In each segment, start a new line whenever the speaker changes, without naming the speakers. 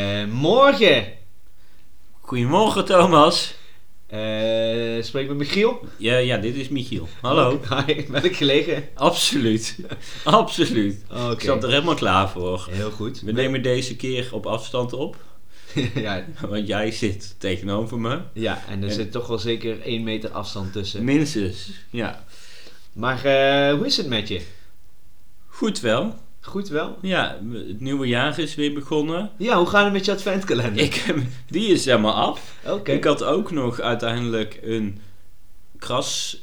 Goedemorgen.
Goedemorgen Thomas.
Eh spreek met Michiel.
Ja, ja, dit is Michiel. Hallo.
Hi, ben ik gelegen?
Absoluut. Absoluut.
Oké.
Ik zat er helemaal klaar voor.
Heel goed.
We nemen deze keer op afstand op.
ja,
Want jij zit tegenover me.
ja, en er
En-
zit toch wel zeker 1 meter afstand tussen.
Minstens. Ja.
Maar eh, hoe is het met je?
Goed wel.
Goed wel?
Ja, het nieuwe jaar is weer begonnen.
Ja, hoe gaat het met je adventkalender?
Ik heb, die is helemaal af.
Oké.
Ik had ook nog uiteindelijk een kraslot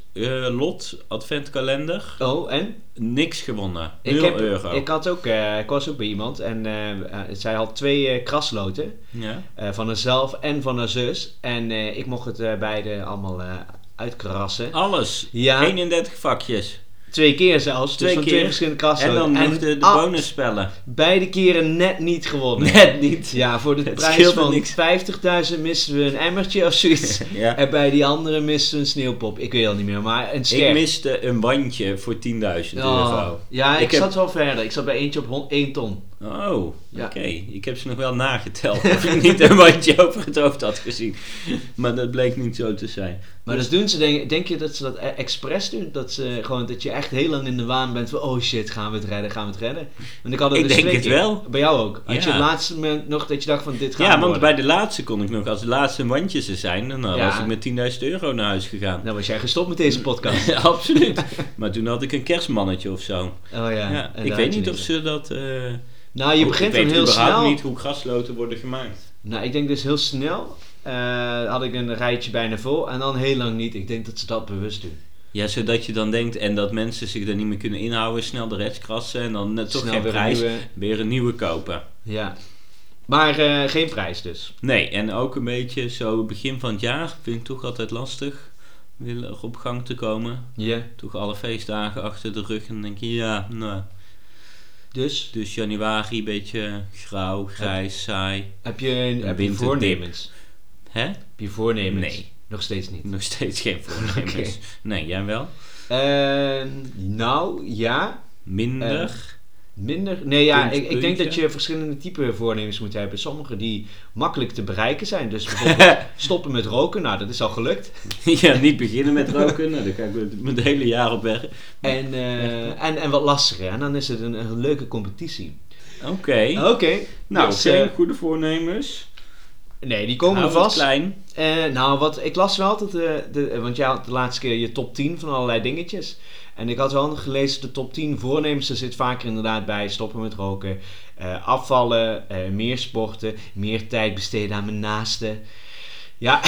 lot adventkalender.
Oh, en?
Niks gewonnen.
Ik
0
heb-
euro.
Ik, had ook, eh, ik was ook bij iemand en eh, eh, zij had twee eh, krasloten.
ja.
eh, van haarzelf en van haar zus. En eh, ik mocht het eh, beide allemaal eh, uitkrassen.
Alles.
Ja.
31 vakjes.
Twee keer zelfs.
Twee
dus van
keer.
twee verschillende krassen.
En dan nog de, de
ah,
bonusspellen.
Beide keren net niet gewonnen.
Net niet.
Ja, voor de
Het
prijs
scheelde
van
niks.
50.000 missen we een emmertje of zoiets.
Ja.
en bij die andere missen we een sneeuwpop. Ik weet al niet meer, maar een
Ik
ster.
miste een bandje voor 10.000
Oh.
euro.
Ja, ik,
Ik heb-
zat wel verder. Ik zat bij eentje op hon- 1 ton.
Oh,
Ja.
oké. Ik heb ze nog wel nageteld of ik niet een bandje over het hoofd had gezien. Maar dat bleek niet zo te zijn.
Maar dus doen ze, denk, denk je dat ze dat e- expres doen? Dat, ze, gewoon, dat je echt heel lang in de waan bent van, oh shit, gaan we het redden, gaan we het redden? Want ik had het
Ik
dus
denk
twee
het
keer.
wel.
Bij jou ook? Had je
Ja.
het laatste moment nog dat je dacht van, dit gaat
Ja,
hem
want
worden?
bij de laatste kon ik nog, als de laatste een bandje ze zijn, dan eh,
Ja.
was ik met 10.000 euro naar huis gegaan.
Dan Nou, was jij gestopt met deze podcast.
Absoluut. Maar toen had ik een kerstmannetje of zo.
Oh ja.
Ja,
en daar
ik
had
weet
je
niet of
in.
ze dat... eh,
Nou, je
ik
begint
weet
dan heel
überhaupt
snel.
niet hoe grasloten worden gemaakt.
Nou, ik denk dus heel snel eh, had ik een rijtje bijna vol en dan heel lang niet. Ik denk dat ze dat bewust doen.
Ja, zodat je dan denkt en dat mensen zich daar niet meer kunnen inhouden, snel de rest krassen en dan net toch
Snel
geen
weer een
prijs,
nieuwe.
weer een nieuwe kopen.
Ja. Maar eh, geen prijs dus.
Nee, en ook een beetje zo begin van het jaar vind ik toch altijd lastig weer er op gang te komen.
Ja.
Toch alle feestdagen achter de rug en dan denk je ja, nou.
Dus
Dus januari een beetje eh, grauw, grijs, saai.
heb je, een, heb je
winterdip.
voornemens?
Hè?
Heb je voornemens?
Nee.
Nog steeds niet.
Nog steeds geen voornemens.
Oké.
Nee, jij wel?
Eh, nou, ja.
Minder.
Minder? Nee, ja,
Punt,
ik, ik denk
puntje.
dat je verschillende type voornemens moet hebben. Sommige die makkelijk te bereiken zijn. Dus bijvoorbeeld stoppen met roken. Nou, dat is al gelukt.
ja, niet beginnen met roken. Nou, daar kan ik het- het hele jaar op weg.
En, eh, en, en wat lastiger. En dan is het een, een leuke competitie.
Oké.
Oké.
Nou,
dus,
geen
eh,
goede voornemens.
nee, die komen er
Hou het
vast.
klein.
Eh, nou, wat, ik las wel dat... eh, de, eh, want jij had de laatste keer je top 10 van allerlei dingetjes. En ik had wel gelezen de top 10 voornemens. Daar zit vaker inderdaad bij stoppen met roken. eh, afvallen, eh, meer sporten, meer tijd besteden aan mijn naasten. Ja,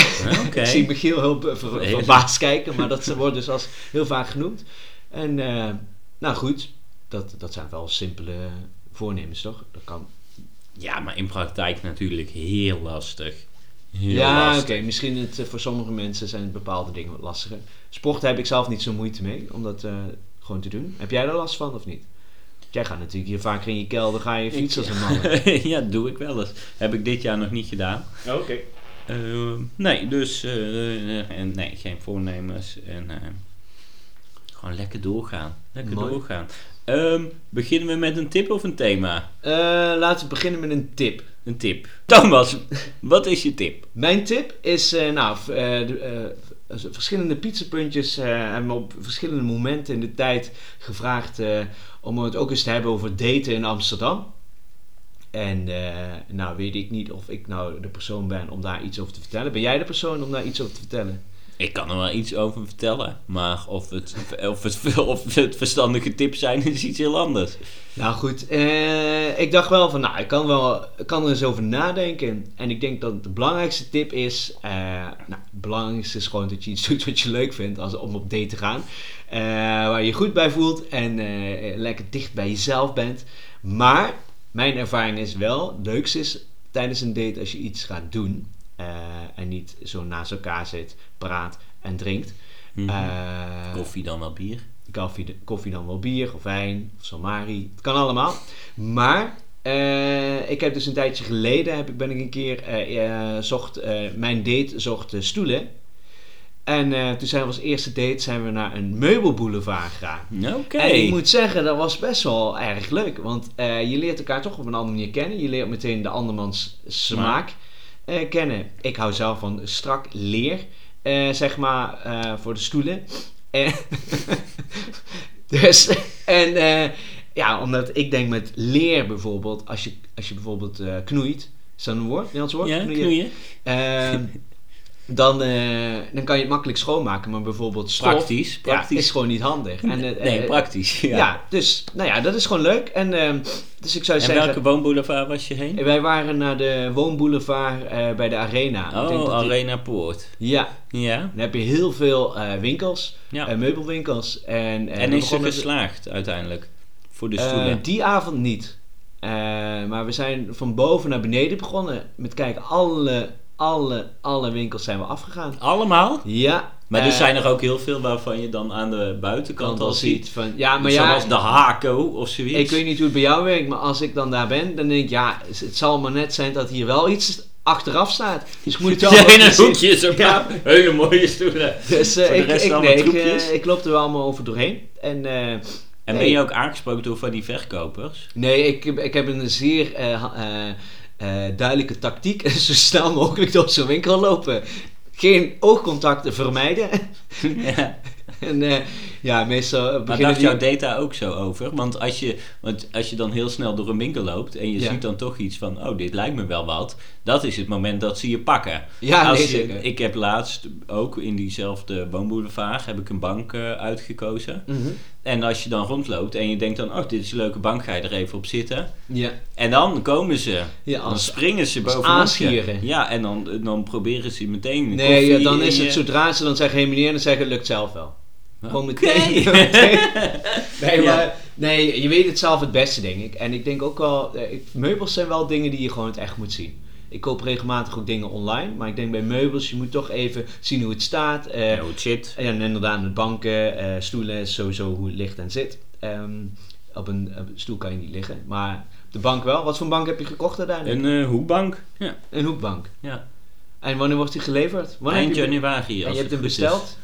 Oké.
ik zie Michiel heel be- ver-
Nee.
verbaasd kijken. Maar dat wordt dus als heel vaak genoemd. En eh, nou goed, dat, dat zijn wel simpele voornemens, toch? Dat kan.
Ja, maar in praktijk natuurlijk heel lastig. Heel
ja, oké.
lastig.
Misschien het, eh, voor sommige mensen zijn bepaalde dingen wat lastiger. Sport heb ik zelf niet zo moeite mee om dat eh, gewoon te doen. Heb jij daar last van of niet? Jij gaat natuurlijk hier vaker in je kelder, ga je fietsen als een man.
ja, doe ik wel eens. Heb ik dit jaar nog niet gedaan.
Oké.
Eh, nee, dus eh, en nee, geen voornemens. En, eh, gewoon lekker doorgaan. Lekker
Mooi.
doorgaan. Ehm, beginnen we met een tip of een thema?
Eh, laten we beginnen met een tip.
Een tip. Thomas, wat is je tip?
Mijn tip is, eh, nou, v- eh, de, eh, v- verschillende pizzapuntjes eh, hebben me op verschillende momenten in de tijd gevraagd eh, om het ook eens te hebben over daten in Amsterdam. En eh, nou weet ik niet of ik nou de persoon ben om daar iets over te vertellen. Ben jij de persoon om daar iets over te vertellen?
Ik kan er wel iets over vertellen, maar of het, of het, of het verstandige tips zijn is iets heel anders.
Nou goed, eh, ik dacht wel van, nou, ik kan, wel, ik kan er eens over nadenken. En ik denk dat de belangrijkste tip is, eh, nou, het belangrijkste is gewoon dat je iets doet wat je leuk vindt als, om op date te gaan. Eh, waar je je goed bij voelt en eh, lekker dicht bij jezelf bent. Maar, mijn ervaring is wel, het leukste is tijdens een date als je iets gaat doen. eh, en niet zo naast elkaar zit, praat en drinkt.
Mhm.
Eh,
Koffie dan wel bier?
koffie, koffie dan wel bier of wijn of samari. Het kan allemaal. Maar eh, ik heb dus een tijdje geleden heb ik, ben ik een keer eh, eh, zocht, eh, mijn date zocht eh, stoelen. En eh, toen zijn we als eerste date zijn we naar een meubelboulevard gegaan.
Oké.
En ik moet zeggen, dat was best wel erg leuk. Want eh, je leert elkaar toch op een andere manier kennen. Je leert meteen de andermans smaak eh, kennen. Ik hou zelf van strak leer, eh, zeg maar, eh, voor de stoelen. En dus, en eh, ja, omdat ik denk met leer bijvoorbeeld, als je, als je bijvoorbeeld eh, knoeit, is dat een woord, Nederlands woord?
Ja,
Knoeien?
knoeien.
Ehm, dan, eh, dan kan je het makkelijk schoonmaken, maar bijvoorbeeld stof
Praktisch,
Ja,
praktisch.
is gewoon niet handig. En, eh,
nee,
eh,
praktisch. Ja.
ja. dus nou ja, dat is gewoon leuk. En ehm, dus ik zou
en
zeggen, eh,
welke woonboulevard was je heen?
wij waren naar de woonboulevard eh, bij de Arena. Ik denk
Oh,
dat die-
Arena Poort.
Ja,
Ja.
dan heb je heel veel eh, winkels,
ja.
eh, meubelwinkels. En, eh,
en
we
is ze
begonnen-
geslaagd uiteindelijk? Voor de
Eh,
stoelen.
die avond niet. Eh, maar we zijn van boven naar beneden begonnen met kijken. Alle, alle, alle winkels zijn we afgegaan.
Allemaal?
Ja.
Maar er
eh,
zijn er ook heel veel waarvan je dan aan de buitenkant al ziet.
Van, ja, maar ja,
Zoals de Hako of zoiets.
ik weet niet hoe het bij jou werkt, maar als ik dan daar ben, dan denk ik, ja, het zal maar net zijn dat hier wel iets achteraf staat. Dus ik moet het wel
Ja, in
even
een
zien.
hoekje zo
Ja.
paar hele mooie stoelen.
Dus eh,
Voor de
ik,
rest
ik,
allemaal
nee, ik,
troepjes.
eh, ik loop er wel allemaal over doorheen. En eh,
En ben
Nee.
je ook aangesproken door van die verkopers?
nee, ik, heb- ik heb een zeer eh, ha- eh, eh, duidelijke tactiek. Zo snel mogelijk door zo'n winkel lopen. Geen oogcontacten vermijden.
ja.
en eh, ja, meestal
Maar
beginnen
dacht
die...
jouw data ook zo over? Want als, je, want als je dan heel snel door een winkel loopt en je
Ja.
ziet dan toch iets van, oh, dit lijkt me wel wat. Dat is het moment dat ze je pakken.
Ja,
Als
nee,
je-
zeker.
ik heb laatst ook in diezelfde woonboulevard heb ik een bank eh, uitgekozen.
Mhm.
En als je dan rondloopt en je denkt dan, oh, dit is een leuke bank, ga je er even op zitten.
Ja,
En dan komen ze.
ja
Dan
als...
springen ze
als
bovenop je.
aasgieren.
Ja, en dan, dan proberen ze meteen
Nee, ja,
koffie
dan
in
is
je-
het zodra ze dan zeggen, hey meneer, dan zeggen, lukt zelf wel. Gewoon meteen.
Oké.
Nee,
Ja.
maar, nee, je weet het zelf het beste, denk ik. En ik denk ook wel, eh, ik- meubels zijn wel dingen die je gewoon het echt moet zien. Ik koop regelmatig ook dingen online, maar ik denk bij meubels, je moet toch even zien hoe het staat. eh,
Oh shit.
En inderdaad met banken, eh, stoelen, is sowieso hoe het ligt en zit. Ehm, op, een, op een stoel kan je niet liggen, maar op de bank wel. Wat voor bank heb je gekocht uiteindelijk?
Een eh, hoekbank. Ja.
Een hoekbank.
ja.
En wanneer wordt die geleverd? Wanneer
Eind
heb je,
januari.
en
Als
je hebt hem
het goed is.
besteld?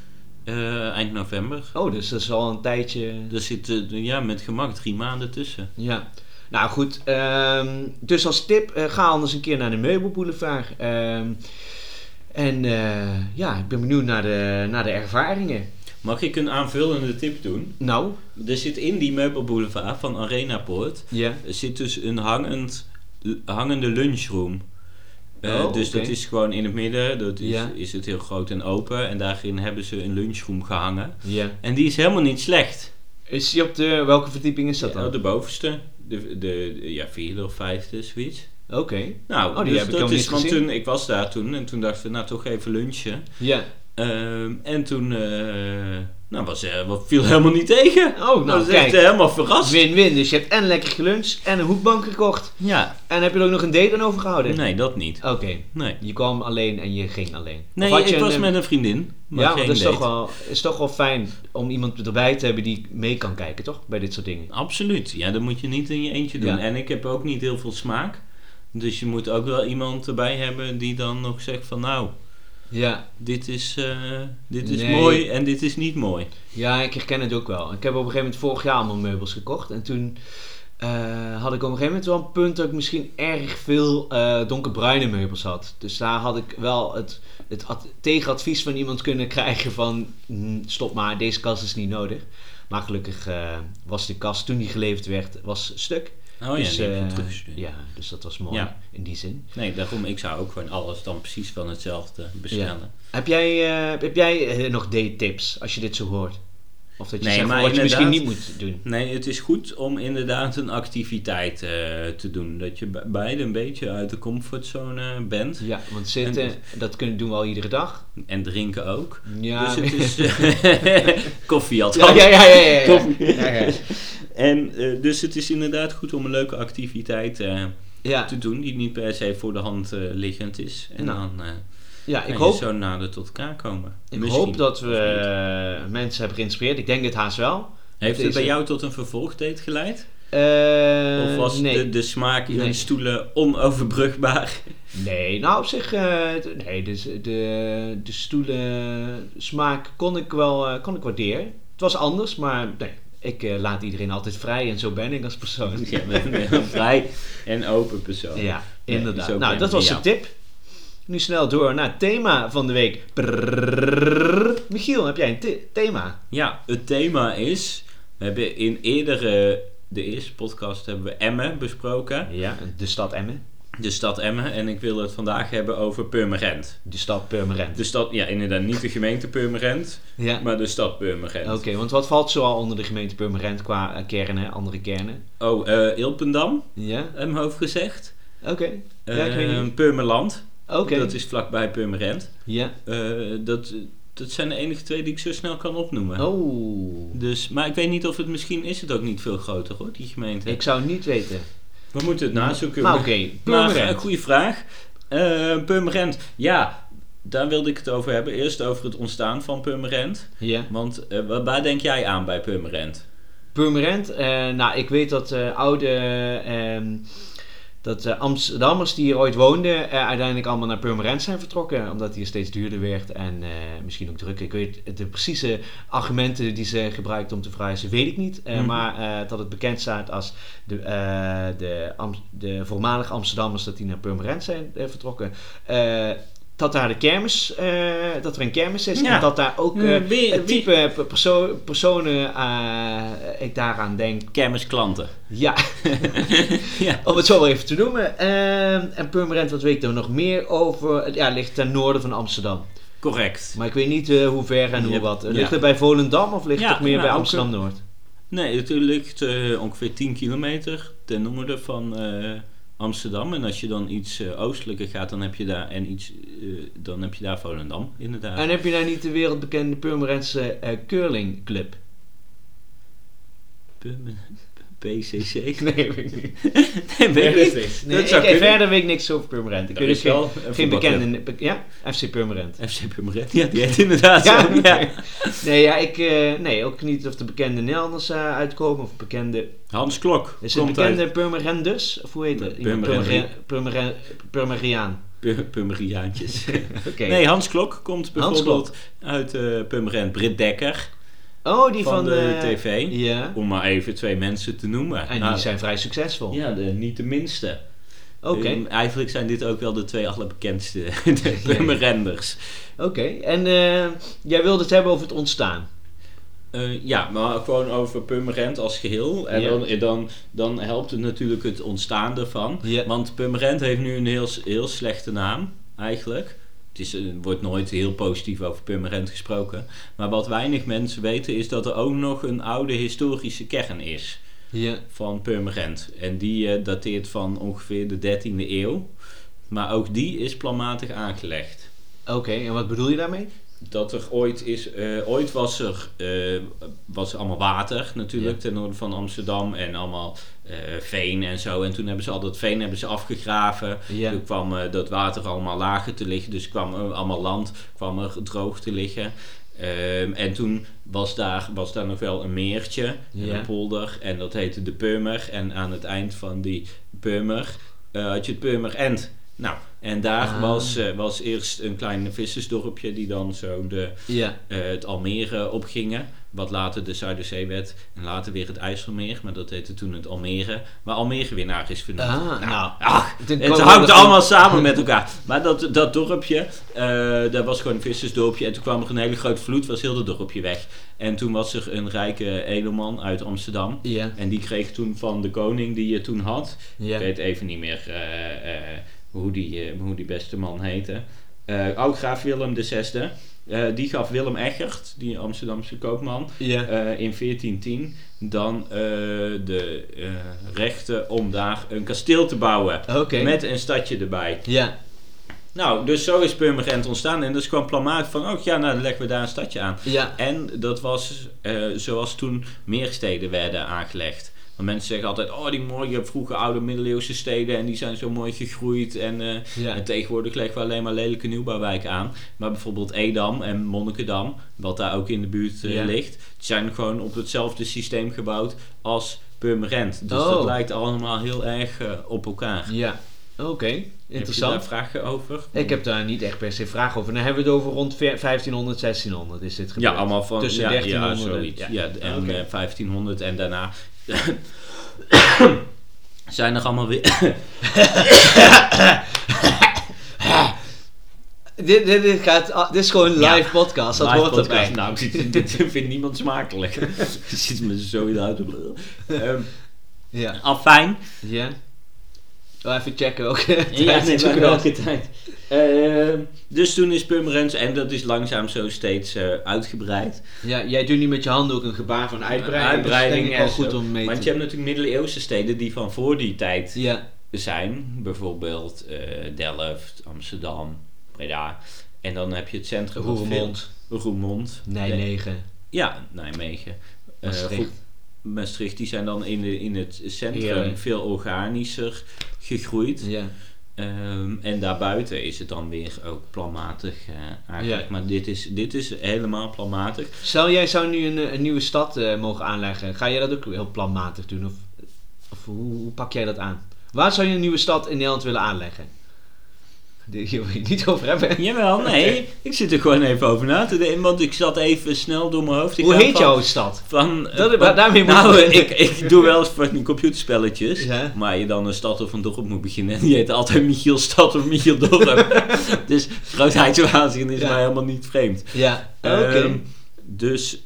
Eh, eind november.
Oh, dus dat is al een tijdje...
Er zit eh, ja, met gemak drie maanden tussen.
Ja. Nou goed, ehm, dus als tip, eh, ga anders een keer naar de meubelboulevard. Ehm, en eh, ja, ik ben benieuwd naar de, naar de ervaringen.
Mag ik een aanvullende tip doen?
Nou,
Er zit in die meubelboulevard van Arena Poort
ja.
Er zit dus een hangend, hangende lunchroom. Eh,
Oh,
dus
oké.
dat is gewoon in het midden, dat is,
Ja.
is het heel groot en open. En daarin hebben ze een lunchroom gehangen.
ja.
En die is helemaal niet slecht.
Is die op de, welke verdieping is dat dan?
Oh,
Oké.
de bovenste, de, de ja, vierde of vijfde, zoiets. Nou,
Oh, die
dus
heb ik
dat
helemaal
is,
niet
want
gezien.
toen, ik was daar toen en toen dachten we, nou toch even lunchen.
Ja.
Ehm, en toen, eh, nou was, eh, wat viel helemaal niet tegen.
Oh, nou
dat was echt
kijk.
eh, helemaal verrast.
Win-win. Dus je hebt en lekker geluncht en een hoekbank gekocht.
Ja,
En heb je er ook nog een date aan overgehouden?
nee, dat niet.
Oké.
Nee.
Je kwam alleen en je ging alleen.
Nee,
Of had je
ik
een,
was
eh,
met een vriendin. Maar
Ja,
geen
want dat is
date.
toch, wel, is toch wel fijn om iemand erbij te hebben die mee kan kijken, toch? Bij dit soort dingen.
Absoluut. Ja, dat moet je niet in je eentje doen.
Ja.
En ik heb ook niet heel veel smaak. Dus je moet ook wel iemand erbij hebben die dan nog zegt van nou,
Ja,
dit is, eh, dit is
Nee.
mooi en dit is niet mooi.
ja, ik herken het ook wel. Ik heb op een gegeven moment vorig jaar allemaal meubels gekocht. En toen eh, had ik op een gegeven moment wel een punt dat ik misschien erg veel eh, donkerbruine meubels had. Dus daar had ik wel het, het ad- tegenadvies van iemand kunnen krijgen van... "Mm, stop maar, deze kast is niet nodig. Maar gelukkig eh, was de kast toen die geleverd werd, was stuk.
Oh ja,
dus,
die heb je
eh,
teruggestuurd.
ja, dus dat was mooi
Ja.
in die zin.
Nee, daarom, ik zou ook gewoon alles dan precies van hetzelfde bestellen.
Heb jij, eh, heb jij eh, nog date tips als je dit zo hoort? Of dat je
Nee,
zegt van,
maar
wat je misschien niet
inderdaad-
moet doen?
Nee, het is goed om inderdaad een activiteit eh, te doen. Dat je be- beide een beetje uit de comfortzone bent.
Ja, want zitten,
dus-
dat kunnen doen we al iedere dag.
En drinken ook.
Ja,
dus het is eh, koffie
ja,
althans.
ja, ja, ja, ja, ja.
Koffie.
Ja, ja.
En eh, dus het is inderdaad goed om een leuke activiteit eh,
Ja,
te doen die niet per se voor de hand eh, liggend is. En
Nou,
dan eh
ja, ik
kan je
hoop,
zo nader tot elkaar komen.
ik
Misschien.
hoop dat we
Of
eh, mensen hebben geïnspireerd. Ik denk het haast wel.
Heeft het
deze-
bij jou tot een vervolgdate geleid?
Eh,
of was
nee.
de, de smaak in
Nee.
de stoelen onoverbrugbaar?
Nee, nou op zich, eh, t- nee, dus de, de stoelen smaak kon ik wel eh, kon ik waarderen. Het was anders, maar nee, ik eh, laat iedereen altijd vrij en zo ben ik als persoon.
Ja, ben ben een vrij en open persoon.
Ja,
Nee,
inderdaad.
zo
nou,
ben
dat
ik,
was
ja.
de tip. Nu snel door naar het thema van de week. Prrrr. Michiel, heb jij een the- thema?
Ja, het thema is... We hebben in eerdere... De eerste podcast hebben we Emmen besproken.
Ja, de stad Emmen.
De stad Emmen. En ik wil het vandaag hebben over Purmerend.
De stad Purmerend.
De stad... Ja, inderdaad. Niet de gemeente Purmerend.
Ja.
Maar de stad
Oké,
Purmerend.
want wat valt zoal onder de gemeente Purmerend qua eh, kernen, andere kernen?
Oh, eh Ilpendam.
Ja,
Hem hoofd gezegd.
oké. Ja, ik weet
Eh,
niet.
Purmerland.
Oké.
Ehm, Dat is vlakbij Purmerend.
Ja.
Eh, dat, dat zijn de enige twee die ik zo snel kan opnoemen.
Oh.
Dus, maar ik weet niet of het misschien is het ook niet veel groter hoor, die gemeente.
Ik zou het niet weten.
We moeten het nazoeken.
Maar oké,
Maar,
Purmerend.
eh, goede vraag. Eh Purmerend, ja, daar wilde ik het over hebben. Eerst over het ontstaan van Purmerend.
Ja.
Want eh, wa- waar denk jij aan bij Purmerend?
Purmerend. eh, nou, ik weet dat eh, oude. ehm, dat eh, Amsterdammers die hier ooit woonden. eh, uiteindelijk allemaal naar Purmerend zijn vertrokken. Omdat hier steeds duurder werd. En eh, misschien ook drukker. Ik weet de precieze argumenten die ze gebruikten om te verhuizen. Weet ik niet. Eh,
Mhm.
Maar eh, dat het bekend staat als. De, eh de, Am- de voormalige Amsterdammers. dat die naar Purmerend zijn eh, vertrokken. Eh, dat daar de kermis. eh, dat er een kermis is.
Ja.
En dat daar ook. eh,
Eh, wie-
het
wie-
type per- perso- personen eh, ik daaraan denk.
Kermisklanten.
Ja,
ja.
om het zo maar even te noemen. Ehm, en Purmerend, wat weet ik er nog meer over? Ja, ligt ten noorden van Amsterdam.
Correct.
Maar ik weet niet eh, hoe ver en hoe
Ja,
wat.
ja.
Ligt het bij Volendam of ligt
Ja,
het meer
nou,
bij
ook,
Amsterdam-Noord?
Nee, het ligt eh, ongeveer 10 kilometer ten noorden van eh, Amsterdam. En als je dan iets eh, oostelijker gaat, dan heb je daar, en iets, eh, dan heb je daar Volendam, inderdaad.
En heb je daar niet de wereldbekende Purmerendse eh, curlingclub?
PCC?
Nee, weet ik niet.
Nee, weet ik niet.
niks.
Dat
ik,
zou
eh,
kunnen.
verder weet ik niks over Purmerend. Ik
Er
weet
is
geen,
wel een
geen
voetbalclub.
bekende... be- ja, FC Purmerend.
FC Purmerend, ja, die heet inderdaad
Ja,
zo. Ja.
Nee, ja, ik, eh, nee, ook niet of de bekende Nederlanders eh, uitkomen of bekende
Hans Klok
Is het
komt
bekende
uit
Purmerendus? Of hoe heet het? Iemand
Purmerendri-
Purmeren- Purmeren- Purmeriaan.
Pur- Purmeriaantjes.
Oké.
Nee, Hans Klok komt
Klok.
bijvoorbeeld uit eh Purmerend. Britt Dekker
Oh, die
van,
van,
de
eh,
tv.
Ja.
Om maar even twee mensen te noemen.
En
Nou,
die zijn vrij succesvol.
Ja, de, niet de minste.
Oké.
Ehm, eigenlijk zijn dit ook wel de twee allerbekendste de Purmerenders.
Oké. En eh, jij wilde het hebben over het ontstaan.
Eh, ja, maar gewoon over Purmerend als geheel. En
Ja.
dan, eh, dan, dan helpt het natuurlijk het ontstaan ervan.
Ja.
Want Purmerend heeft nu een heel, heel slechte naam, eigenlijk. Het is, er wordt nooit heel positief over Purmerend gesproken. Maar wat weinig mensen weten is dat er ook nog een oude historische kern is
Ja.
van Purmerend. En die eh, dateert van ongeveer de 13e eeuw. Maar ook die is planmatig aangelegd
Oké. En wat bedoel je daarmee?
dat er ooit is, eh, ooit was er, eh, was er allemaal water natuurlijk ten noorden van Amsterdam en allemaal eh, veen en zo. En toen hebben ze al dat veen hebben ze afgegraven.
Ja.
Toen kwam eh, dat water allemaal lager te liggen, dus kwam er allemaal land kwam er droog te liggen. Ehm, en toen was daar, was daar nog wel een meertje, en
Ja.
een polder, en dat heette de Purmer. En aan het eind van die Purmer eh, had je het Purmer End. Nou, en daar
Ah.
was, eh, was eerst een klein vissersdorpje die dan zo de,
Ja.
eh, het Almere opgingen. Wat later de Zuiderzee werd en later weer het IJsselmeer. Maar dat heette toen het Almere. Waar Almere weer naar is vernoemd.
Ah, nou.
ach,
Dan komen
het
we
hangt
er-
allemaal samen met elkaar. Maar dat, dat dorpje, eh dat was gewoon een vissersdorpje. En toen kwam er een hele grote vloed, was heel dat dorpje weg. En toen was er een rijke edelman uit Amsterdam.
Ja.
En die kreeg toen van de koning die je toen had.
Ja.
Ik weet even niet meer eh, eh, hoe, die, eh, hoe die beste man heette. Eh ook graaf Willem VI. Eh die gaf Willem Eggert, die Amsterdamse koopman,
Ja.
eh, in 1410 dan eh, de eh, rechten om daar een kasteel te bouwen.
Oké.
Met een stadje erbij.
Ja.
Nou, dus zo is Purmerend ontstaan. En dat is gewoon plamaat van, oh ja, nou dan leggen we daar een stadje aan.
Ja.
En dat was eh, zoals toen meer steden werden aangelegd. Want mensen zeggen altijd, oh die mooie vroege oude middeleeuwse steden en die zijn zo mooi gegroeid. En, eh,
Ja.
en tegenwoordig leggen we alleen maar lelijke nieuwbouwwijken aan. Maar bijvoorbeeld Edam en Monnikendam, wat daar ook in de buurt eh,
Ja.
ligt, zijn gewoon op hetzelfde systeem gebouwd als Purmerend. Dus
Oh.
dat lijkt allemaal heel erg eh, op elkaar.
Ja, oké.
Heb
Interessant.
je daar vragen over?
Ik heb daar niet echt per se vragen over. Dan hebben we het over rond ver- 1500, 1600 is dit gebeurd.
Ja, allemaal van
Tussen
ja,
1300
ja,
en-
zoiets.
ja.
Ja, en
Oké.
eh, 1500 en daarna zijn er allemaal weer.
Dit, dit, dit, gaat, ah, dit is gewoon een
Ja.
live podcast, dat
live
hoort
podcast.
erbij.
Nou, dit, dit vindt niemand smakelijk. Het zit me zo in de huid. Ehm,
Ja.
Afijn.
ja. Oh, even checken ook.
Ja, nee, maar welke tijd. Ehm, dus toen is Purmerend en dat is langzaam zo steeds eh, uitgebreid.
Ja, jij doet nu met je handen ook een gebaar van uitbreiding. dat is
Uitbreiding
denk ik
en
wel goed
zo.
om mee
Want
te
je hebt natuurlijk middeleeuwse steden die van voor die tijd
Ja,
zijn. Bijvoorbeeld eh, Delft, Amsterdam, Breda. En dan heb je het centrum wat
Roermond,
veel- Roermond.
Nijmegen,
Ja, Nijmegen. Eh,
Maastricht.
goed, Maastricht, die zijn dan in, de, in het centrum
Heerlijk.
veel organischer gegroeid.
ja.
Ehm, en daarbuiten is het dan weer ook planmatig eh, eigenlijk.
Ja.
Maar dit is, dit is helemaal planmatig.
Stel, jij zou nu een, eh, een nieuwe stad eh, mogen aanleggen. Ga jij dat ook heel planmatig doen? Of, of hoe, hoe pak jij dat aan? Waar zou je een nieuwe stad in Nederland willen aanleggen? Dit- Hier wil je het niet over hebben.
Jawel, nee. Ik zit er gewoon even over na te denken. Want ik zat even snel door mijn hoofd. Ik
Hoe
ga
heet
van-
jouw stad?
Van,
Dat-
eh,
maar daarmee moet
nou,
je-
eh, ik, ik doe wel eens fucking computerspelletjes.
Ja.
Maar je dan een stad of een dorp moet beginnen. En die heet altijd Michielstad of Michelldorp. dus grootheidswaanzin is
Ja.
mij helemaal niet vreemd.
Ja, oké.
Ehm, dus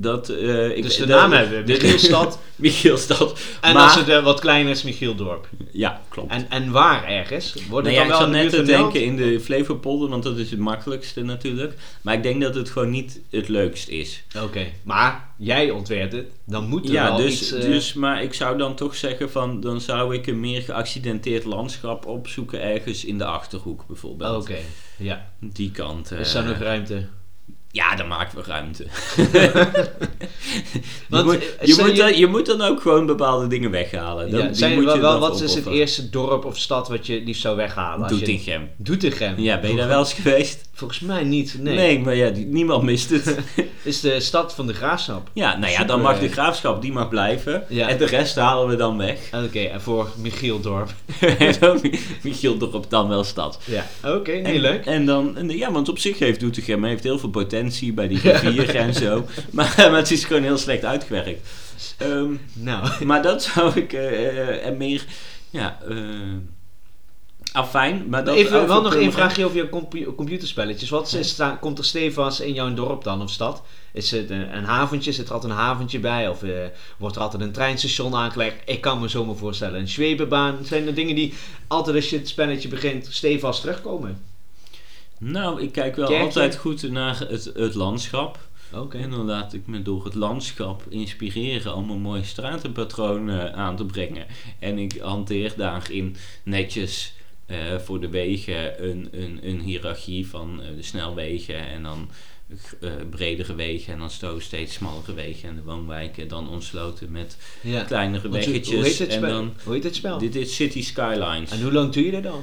dat... eh, ik,
dus de
dat-
naam hebben we.
de-
Michielstad.
Michielstad.
En
maar,
als het eh, wat kleiner is, Michieldorp.
Ja, klopt.
En, en waar ergens? Wordt
Nou
het
ja,
dan
ik
wel
zat
in de
net
buurt
te
van Delft?
denken in de Flevopolder, want dat is het makkelijkste natuurlijk. Maar ik denk dat het gewoon niet het leukst is.
Oké, maar jij ontwerpt het. Dan moet er
Ja,
wel
dus,
iets... eh,
dus, maar ik zou dan toch zeggen van, dan zou ik een meer geaccidenteerd landschap opzoeken ergens in de Achterhoek
Oké,
bijvoorbeeld.
ja.
Die kant. eh,
Is daar nog ruimte?
ja, dan maken we ruimte.
Want,
je,
eh,
moet, je,
zijn
moet
je-
dan, je moet dan ook gewoon bepaalde dingen weghalen. Dan,
Ja,
die
zijn er
moet
wel,
je
wel,
dan
wat is het
opofferen.
eerste dorp of stad wat je het liefst zou weghalen? als je-
Doetinchem.
Doetinchem.
Ja, ben je daar wel eens geweest?
Volgens mij niet, nee.
Nee, maar ja, die- niemand mist het.
Is de stad van de graafschap.
Ja, nou ja,
Super,
dan mag
eh.
de graafschap, die mag blijven.
Ja.
En de rest halen we dan weg.
Oké, en voor Michieldorp.
Michiel Dorp dan wel stad.
Ja, oké, nee,
En-
leuk.
En dan, en, ja, want op zich heeft Doetinchem heeft heel veel potentie bij die rivier en zo. Maar, maar het is gewoon heel slecht uitgewerkt. Ehm,
Nou,
maar dat zou ik eh, eh, en meer, ja, eh afijn. Maar dat
even,
over
wel nog één
Purmerend-
vraagje over je compu- computerspelletjes. Wat is, sta- komt er stevast in jouw dorp dan of stad? Is het eh, een, een haventje? Zit er altijd een haventje bij? Of eh, wordt er altijd een treinstation aangelegd? Ik kan me zomaar voorstellen. Een zwebenbaan. Zijn er dingen die altijd als je het spelletje begint stevast terugkomen?
Nou, ik kijk wel
Kerkje?
altijd goed naar het, het landschap.
Oké.
En dan laat ik me door het landschap inspireren om een mooi stratenpatroon eh, aan te brengen. En ik hanteer daarin netjes eh, voor de wegen een, een, een hiërarchie van eh, de snelwegen en dan eh, bredere wegen en dan zo steeds smallere wegen en de woonwijken dan ontsloten met
Ja.
kleinere
Want
weggetjes.
Hoe hoe heet het
en
spel?
dan,
hoe heet het spel?
dit is City Skylines
En hoe lang doe je dat dan?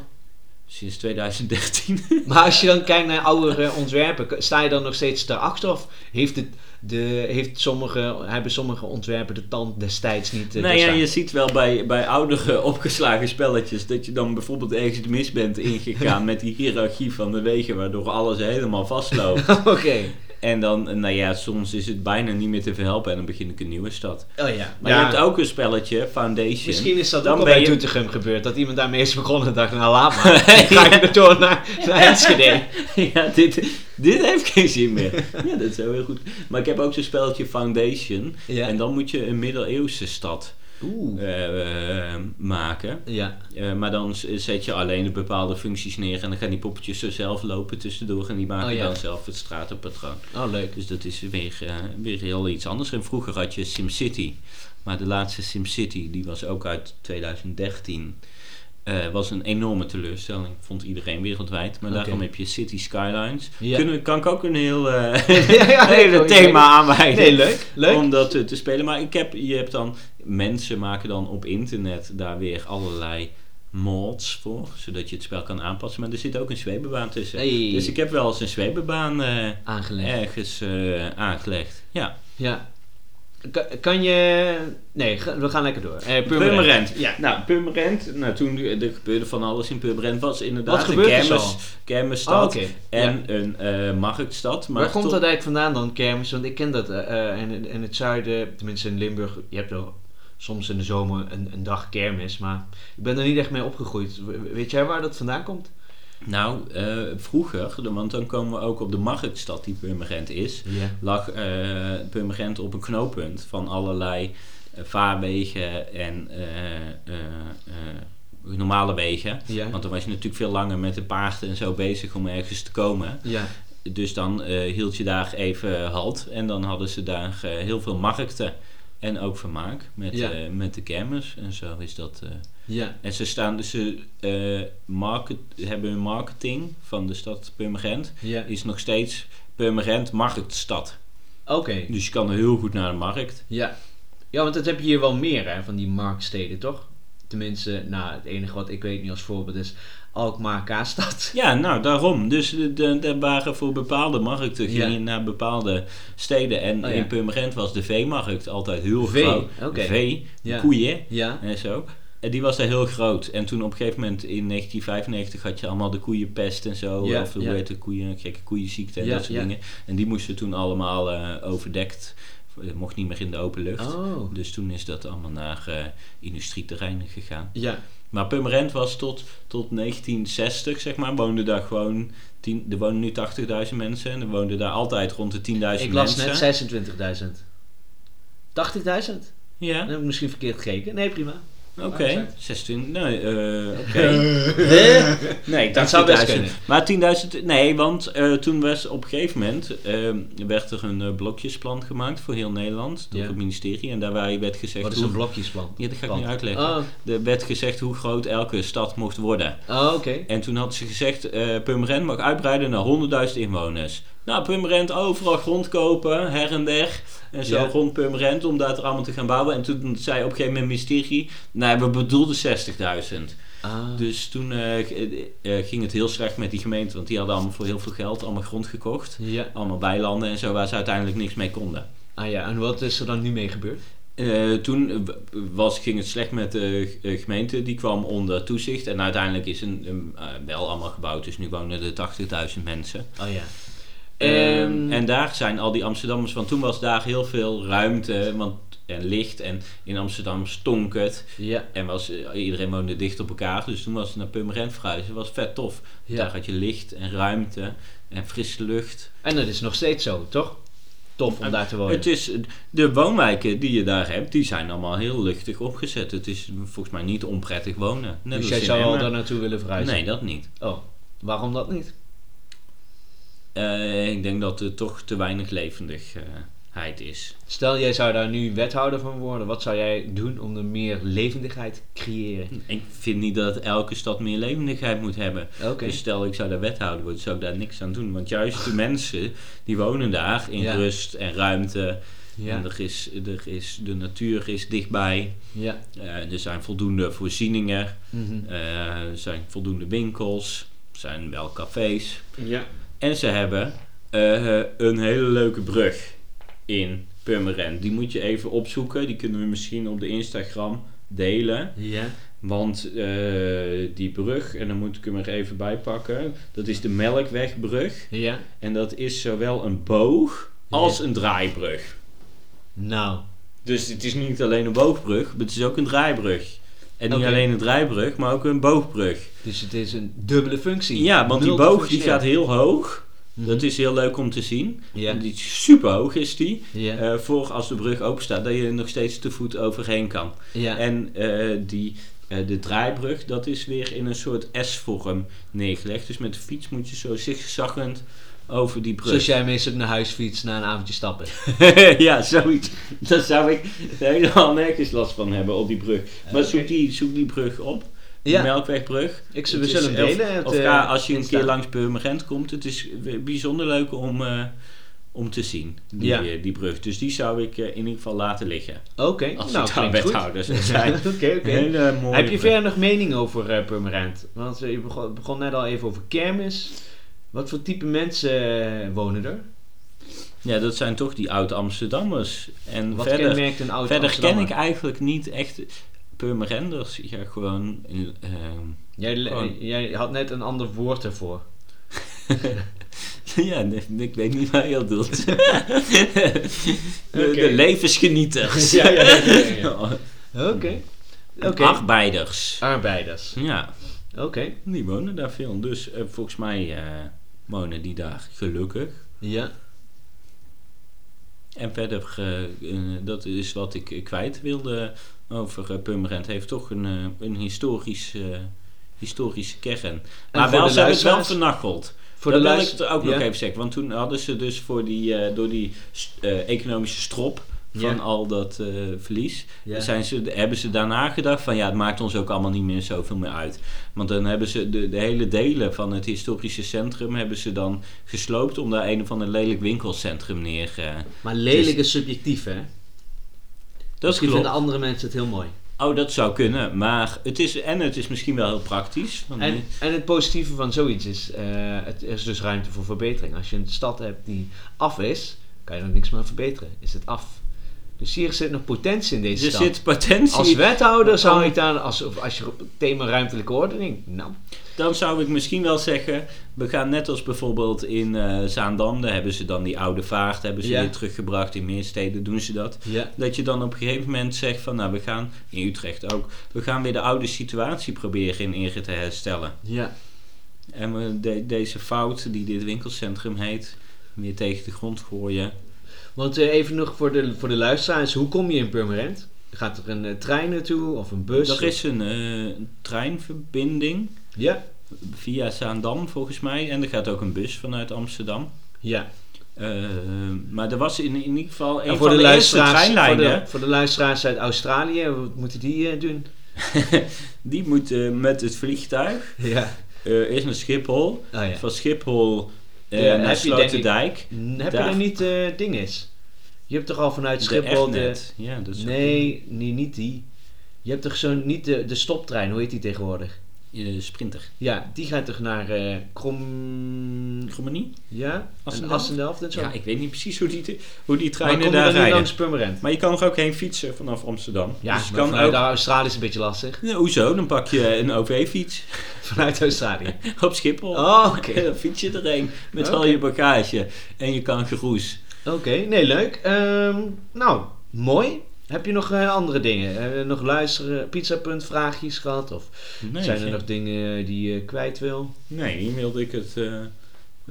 sinds 2013.
Maar als je dan kijkt naar oudere ontwerpen, k- sta je dan nog steeds daarachter? Of heeft het de, heeft sommige, hebben sommige ontwerpen de tand destijds niet eh,
Nou ja,
doorstaan?
je ziet wel bij, bij oudere opgeslagen spelletjes dat je dan bijvoorbeeld ergens de mis bent ingegaan met die hiërarchie van de wegen, waardoor alles helemaal vastloopt.
Oké.
en dan, eh, nou ja, soms is het bijna niet meer te verhelpen en dan begin ik een nieuwe stad.
Oh ja.
Maar
Ja,
je hebt ook een spelletje, Foundation.
Misschien is dat
Dan
ook al
ben
bij
je-
Doetinchem gebeurd. Dat iemand daarmee is begonnen en dacht, nou laat maar. Dan ga ik er door naar, naar Enschede.
ja, dit, dit heeft geen zin meer. ja, dat zou heel goed. Maar ik heb ook zo'n spelletje Foundation.
Ja.
En dan moet je een middeleeuwse stad
Oeh.
eh, eh, maken.
Ja.
Eh, maar dan z- zet je alleen de bepaalde functies neer en dan gaan die poppetjes zo zelf lopen tussendoor en die maken
Oh, ja.
dan zelf het stratenpatroon.
Oh, leuk.
Dus dat is weer, eh, weer heel iets anders. En vroeger had je SimCity, maar de laatste SimCity, die was ook uit 2013. Eh, was een enorme teleurstelling, vond iedereen wereldwijd. Maar
Oké.
daarom heb je City Skylines.
Ja.
Kunnen, kan ik ook een heel eh,
Ja, ja,
hele
ik-
thema aanwijden
Nee, leuk. Leuk.
om dat eh, te spelen. Maar ik heb, je hebt dan, mensen maken dan op internet daar weer allerlei mods voor, zodat je het spel kan aanpassen. Maar er zit ook een zweepbaan tussen.
Hey.
Dus ik heb wel eens een zweepbaan eh,
Aangelegd.
ergens eh, aangelegd. Ja.
Ja. Ka- kan je... Nee, ga- we gaan lekker door. Eh, Purmerend.
Purmerend.
Ja.
Nou, Purmerend, nou, toen er gebeurde van alles in Purmerend, was inderdaad
Wat gebeurt er
een
zoal?
kermis, kermisstad
Oh, oké.
en een eh, marktstad. Maar
Waar komt
tot-
dat eigenlijk vandaan dan, kermis? Want ik ken dat. eh, eh, in, in het zuiden, tenminste in Limburg, je hebt wel soms in de zomer een, een dag kermis. Maar ik ben er niet echt mee opgegroeid. W- Weet jij waar dat vandaan komt?
Nou, eh, vroeger, de- want dan komen we ook op de marktstad die Purmerend is,
Ja.
lag eh Purmerend op een knooppunt van allerlei eh, vaarwegen en eh, eh, eh, normale wegen.
Ja.
Want dan was je natuurlijk veel langer met de paarden en zo bezig om ergens te komen.
Ja.
Dus dan eh, hield je daar even halt. En dan hadden ze daar eh, heel veel markten. En ook vermaak met,
Ja.
eh, met de kermis. En zo is dat. eh.
Ja.
En ze staan dus. Ze eh, market, hebben hun marketing van de stad Purmerend.
ja.
Is nog steeds Purmerend marktstad.
Oké.
Dus je kan heel goed naar de markt.
Ja. Ja, want dat heb je hier wel meer, hè, van die marktsteden, toch? Tenminste, nou, het enige wat ik weet niet als voorbeeld is Alkmaar Kaastad.
Ja, nou daarom. Dus de- de- er waren voor bepaalde markten.
Ja.
Ging je naar bepaalde steden. En
Oh, ja.
in Purmerend was de veemarkt altijd heel
Vee,
groot.
oké.
Vee,
Ja.
koeien.
Ja.
en zo. En die was daar heel groot. En toen op een gegeven moment in 1995 had je allemaal de koeienpest en zo.
Ja,
of de
ja.
hoe heet de koeien, gekke koeienziekte en
Ja,
dat soort
ja.
dingen. En die moesten toen allemaal eh, overdekt. Eh, Mocht niet meer in de open lucht.
Oh.
Dus toen is dat allemaal naar eh, industrieterreinen gegaan.
Ja.
Maar Purmerend was tot, tot 1960, zeg maar, woonde daar gewoon... Tien, er wonen nu 80.000 mensen en er woonden daar altijd rond de 10.000 mensen.
Ik las net 26.000. 80.000?
Ja,
Dan heb ik misschien verkeerd gekeken. Nee, prima.
oké.
Ah, exact.
26, nee, eh, oké.
Hè?
Nee,
Dat zou best kunnen.
Maar 10.000, nee, want eh, toen was op een gegeven moment eh, werd er een eh, blokjesplan gemaakt voor heel Nederland door
Ja.
het ministerie. En daarbij werd gezegd.
Wat is een
hoe-
blokjesplan?
Ja, dat ga ik
Plan.
nu uitleggen.
Oh,
Er werd gezegd hoe groot elke stad mocht worden.
oh, oké.
En toen hadden ze gezegd: eh Purmerend mag uitbreiden naar 100.000 inwoners. Nou, Purmerend overal grond kopen, her en der. En zo
Ja.
rond Purmerend om daar het allemaal te gaan bouwen. En toen zei op een gegeven moment het ministerie: Nee, we bedoelden 60.000.
Ah.
Dus toen eh, g- eh, eh, ging het heel slecht met die gemeente, want die hadden allemaal voor heel veel geld allemaal grond gekocht.
Ja.
Allemaal weilanden en zo, waar ze uiteindelijk niks mee konden.
Ah ja, en wat is er dan nu mee gebeurd?
Eh, toen eh, w- was, ging het slecht met de g- eh, gemeente, die kwam onder toezicht. En uiteindelijk is een, een, eh, wel allemaal gebouwd, dus nu wonen er 80.000 mensen.
Oh ja.
Ehm, en daar zijn al die Amsterdammers, want toen was daar heel veel ruimte want, en licht. En in Amsterdam stonk het.
ja.
En was, eh, iedereen woonde dicht op elkaar, dus toen was het naar Purmerend verhuizen. Dat was vet tof.
Ja.
Daar had je licht en ruimte en frisse lucht.
En dat is nog steeds zo, toch? Tof om daar te wonen.
Het is, de woonwijken die je daar hebt, die zijn allemaal heel luchtig opgezet. Het is volgens mij niet onprettig wonen. Net
dus
als
jij
in
zou wel
Emmen.
daar naartoe willen verhuizen?
Nee, dat niet.
Oh, waarom dat niet?
Eh, ik denk dat er toch te weinig levendigheid is.
Stel, jij zou daar nu wethouder van worden. Wat zou jij doen om er meer levendigheid te creëren?
Ik vind niet dat elke stad meer levendigheid moet hebben.
Oké.
Dus stel ik zou daar wethouder worden, zou ik daar niks aan doen. Want juist de mensen, die wonen daar in
Ja.
rust en ruimte.
ja.
En er is, er is, de natuur is dichtbij.
ja.
Eh, er zijn voldoende voorzieningen.
Mhm.
Eh, er zijn voldoende winkels. Er zijn wel cafés.
ja.
En ze hebben eh, een hele leuke brug in Purmerend. Die moet je even opzoeken. Die kunnen we misschien op de Instagram delen.
Ja.
Want eh, die brug, en dan moet ik hem er even bij pakken. Dat is de Melkwegbrug.
Ja.
En dat is zowel een boog als een draaibrug.
Nou.
Dus het is niet alleen een boogbrug, maar het is ook een draaibrug. En niet
Oké.
alleen een draaibrug, maar ook een boogbrug.
Dus het is een dubbele functie.
Ja, want die boog die
Multifunctioneel.
gaat heel hoog.
Mhm.
Dat is heel leuk om te zien.
Ja.
Die is super hoog is die.
Ja.
Eh, voor als de brug open staat, dat je er nog steeds te voet overheen kan.
ja.
En eh, die, eh, de draaibrug, dat is weer in een soort S-vorm neergelegd. Dus met de fiets moet je zo zigzaggend over die brug.
Zoals jij meestal naar huis fietst na een avondje stappen.
ja, zoiets. Daar zou ik helemaal nergens last van hebben op die brug. Maar zoek die, zoek die brug op. De
Ja.
Melkwegbrug.
Ik, we zullen
Het is-
hem delen.
Of,
het,
of
eh,
ga als je een
Insta.
keer langs Purmerend komt. Het is w- bijzonder leuk om, eh, om te zien, die,
Ja.
eh, die brug. Dus die zou ik eh, in ieder geval laten liggen.
Oké.
Als
nou,
ik daar
klinkt goed.
wethouder zou zijn.
Oké, oké.
Hele mooie
Heb je
brug.
verder nog mening over eh, Purmerend? Want eh, je begon, begon net al even over kermis. Wat voor type mensen eh, wonen er?
Ja, dat zijn toch die oud-Amsterdammers. En
Wat
verder,
kenmerkt een oud
verder ken
Amsterdammer?
ik eigenlijk niet echt Purmerenders. Ja, gewoon... in- ehm,
Jij, le- eh,
Gewoon.
jij had net een ander woord ervoor.
ja, nee, ik weet niet waar je al doelt. de,
Oké.
de levensgenieters.
Ja, ja, ja, ja, ja.
Oh,
Oké. Oké.
Arbeiders.
Arbeiders.
Ja,
Oké.
die wonen daar veel. Dus eh, volgens mij eh, wonen die daar gelukkig.
Ja.
En verder, eh, eh, dat is wat ik eh, kwijt wilde over eh, Purmerend. Heeft toch een, eh, een historisch, eh, historische kern. Maar
voor
wel,
de
ze hebben het wel
luisteraars?
vernacheld.
Voor
dat
de
wil
luister-
ik het ook
ja.
nog even zeggen. Want toen hadden ze dus voor die, eh, door die s- eh, economische strop van
Ja.
al dat eh, verlies...
Ja.
Zijn ze, hebben ze daarna gedacht van ja, het maakt ons ook allemaal niet meer zoveel meer uit. Want dan hebben ze de, de hele delen van het historische centrum hebben ze dan gesloopt... om daar een of ander lelijk winkelcentrum neer... eh,
Maar lelijk Dus- is Mm-hmm. subjectief, hè?
dat is
Misschien
klopt.
vinden andere mensen het heel mooi.
Oh, dat zou kunnen. Maar het is, en het is misschien wel heel praktisch. Want
En, en het positieve van zoiets is, eh, het er is dus ruimte voor verbetering. Als je een stad hebt die af is, kan je er niks meer aan verbeteren. Is het af. Dus hier zit nog potentie in deze
er
stad.
zit potentie.
als wethouder zou
Om-
ik daar, als, of als je op het thema ruimtelijke ordening, nou,
Dan zou ik misschien wel zeggen, we gaan net als bijvoorbeeld in eh, Zaandam, daar hebben ze dan die oude vaart, hebben ze
Ja.
weer teruggebracht. In meer steden doen ze dat.
ja.
Dat je dan op een gegeven moment zegt van, nou we gaan, in Utrecht ook, we gaan weer de oude situatie proberen in Ere te herstellen.
ja.
En we de- deze fout die dit winkelcentrum heet, weer tegen de grond gooien.
Want eh, even nog voor de, voor de luisteraars, hoe kom je in Purmerend? Gaat er een eh, trein naartoe of een bus?
Er is een eh, treinverbinding
Ja,
via Zaandam volgens mij en er gaat ook een bus vanuit Amsterdam.
ja.
Eh, maar er was in, in ieder geval een
En voor
van
de,
de, eerste
luisteraars, voor,
treinlijnen.
de, voor de luisteraars uit Australië, wat moeten die eh, doen?
Die moeten met het vliegtuig
Ja.
eh, eerst naar Schiphol.
Oh, ja.
Van Schiphol eh,
Ja,
naar
heb je denk ik-
Sloterdijk.
N- Heb je
Daar.
er niet eh dinges? Je hebt toch al vanuit
De
Schiphol de...
Fnet. Ja, dat is ook-
Nee, nee, niet die. Je hebt toch zo'n... Niet de, de stoptrein, hoe heet die tegenwoordig?
eh, sprinter.
Ja, die gaat toch naar eh Krom...
Romani?
Ja? En
Assendelft?
Assendelft en zo?
Ja, ik weet niet precies hoe die, hoe die
maar kom
treinen
je dan
daar
niet
rijden.
langs Purmerend?
Maar je kan er ook heen fietsen vanaf Amsterdam.
Ja,
dus je
maar
kan
vanuit
ook...
Australië is een beetje lastig.
Nou, hoezo? Dan pak je een OV-fiets
Vanuit Australië.
op Schiphol.
Oh, oké. Oh,
En dan fiets je erheen met al
Oké.
je bagage. En je kan geroes.
Oké, nee, leuk. Ehm, nou, mooi. Heb je nog eh, andere dingen? Hebben we nog luisteren, pizzapunt vraagjes gehad? Of
Nee,
zijn er
geen-
nog dingen die je kwijt wil?
Nee, hier wilde ik het. eh,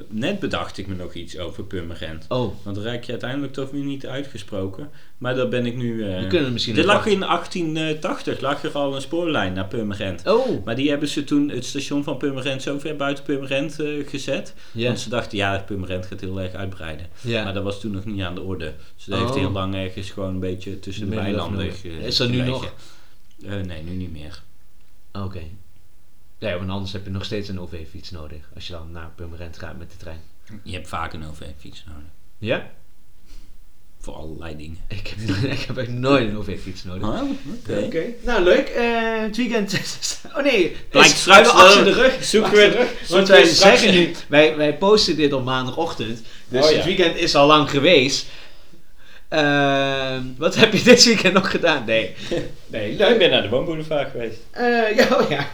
net bedacht ik me nog iets over Purmerend.
Oh,
Want dan raak je uiteindelijk toch weer niet uitgesproken. Maar dat ben ik nu. eh,
we kunnen misschien
er
nog
lag in 1880 lag er al een spoorlijn naar Purmerend.
wat- Oh,
Maar die hebben ze toen het station van Purmerend zo ver buiten Purmerend eh, gezet.
ja.
Want ze dachten, ja, Purmerend gaat heel erg uitbreiden. Maar
ja.
dat was toen nog niet aan de orde. Dus dat heeft
Oh.
heel lang ergens gewoon een beetje tussen de
Midden of
weilanden
nowhere.
ge-
Is dat nu
gelegen.
nog?
Eh, nee, nu niet meer.
Oké. Nee, want anders heb je nog steeds een OV-fiets nodig. Als je dan naar Purmerend gaat met de trein.
Je hebt vaak een OV-fiets nodig.
Ja?
Voor allerlei dingen.
Ik heb, ik heb echt nooit een OV-fiets nodig.
Ah, oké.
nou leuk. Eh, het weekend. oh nee,
Blijkt
is-
straks
we hebben achter de
wel-
rug.
zoeken
achter
we-
de rug.
zoeken
Want
we
wij
straks-
zeggen nu, wij, wij posten dit op maandagochtend. Dus
Oh ja.
het weekend is al lang geweest. Ehm, wat heb je dit weekend nog gedaan? Nee.
Nee, leuk. Ik ben naar de woonboulevard geweest.
Eh, ja, oh ja.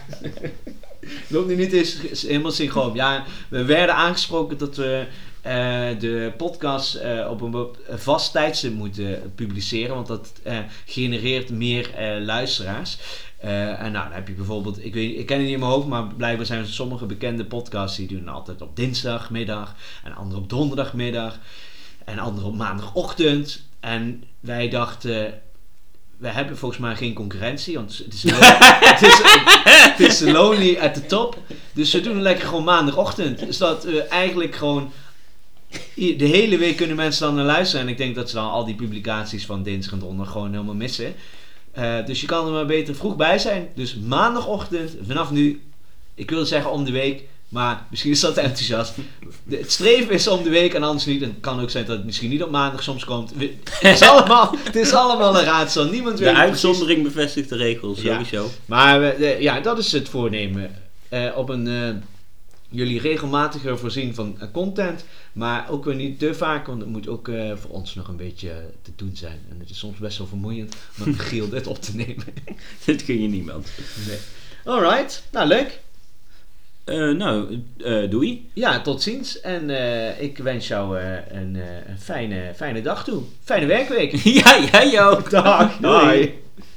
Loopt nu niet eens is helemaal synchroon. Ja, we werden aangesproken dat we eh, de podcast eh, op een bep- een vast tijdstip moeten publiceren. Want dat eh, genereert meer eh, luisteraars. Eh, en nou, dan heb je bijvoorbeeld, ik, weet, ik ken het niet in mijn hoofd, maar blijkbaar zijn er sommige bekende podcasts die doen altijd op dinsdagmiddag. En andere op donderdagmiddag. En andere op maandagochtend. En wij dachten, we hebben volgens mij geen concurrentie, want het is, het is, het is lonely at the top. Dus we doen het lekker gewoon maandagochtend. Zodat we eigenlijk gewoon... i- De hele week kunnen mensen dan naar luisteren. En ik denk dat ze dan al die publicaties van dinsdag en donderdag gewoon helemaal missen. Eh, dus je kan er maar beter vroeg bij zijn. Dus maandagochtend, vanaf nu, ik wil zeggen om de week, maar misschien is dat te enthousiast. De- het streven is om de week en anders niet. En het kan ook zijn dat het misschien niet op maandag soms komt. We- Het is allemaal, het is allemaal een raadsel. Niemand weet
De
het precies.
uitzondering bevestigt de regel,
Ja.
sowieso.
Maar we- de- ja, dat is het voornemen. Eh, op een eh, jullie regelmatiger voorzien van eh, content. Maar ook weer niet te vaak, want het moet ook eh, voor ons nog een beetje eh, te doen zijn. En het is soms best wel vermoeiend om met Giel dit op te nemen.
Dit kun je niemand.
Alright, nou leuk.
Eh, nou, eh, doei.
Ja, tot ziens. En eh, ik wens jou eh, een, eh, een fijne, fijne dag toe. Fijne werkweek.
ja, jij ook.
Dag.
Doei.
Doei.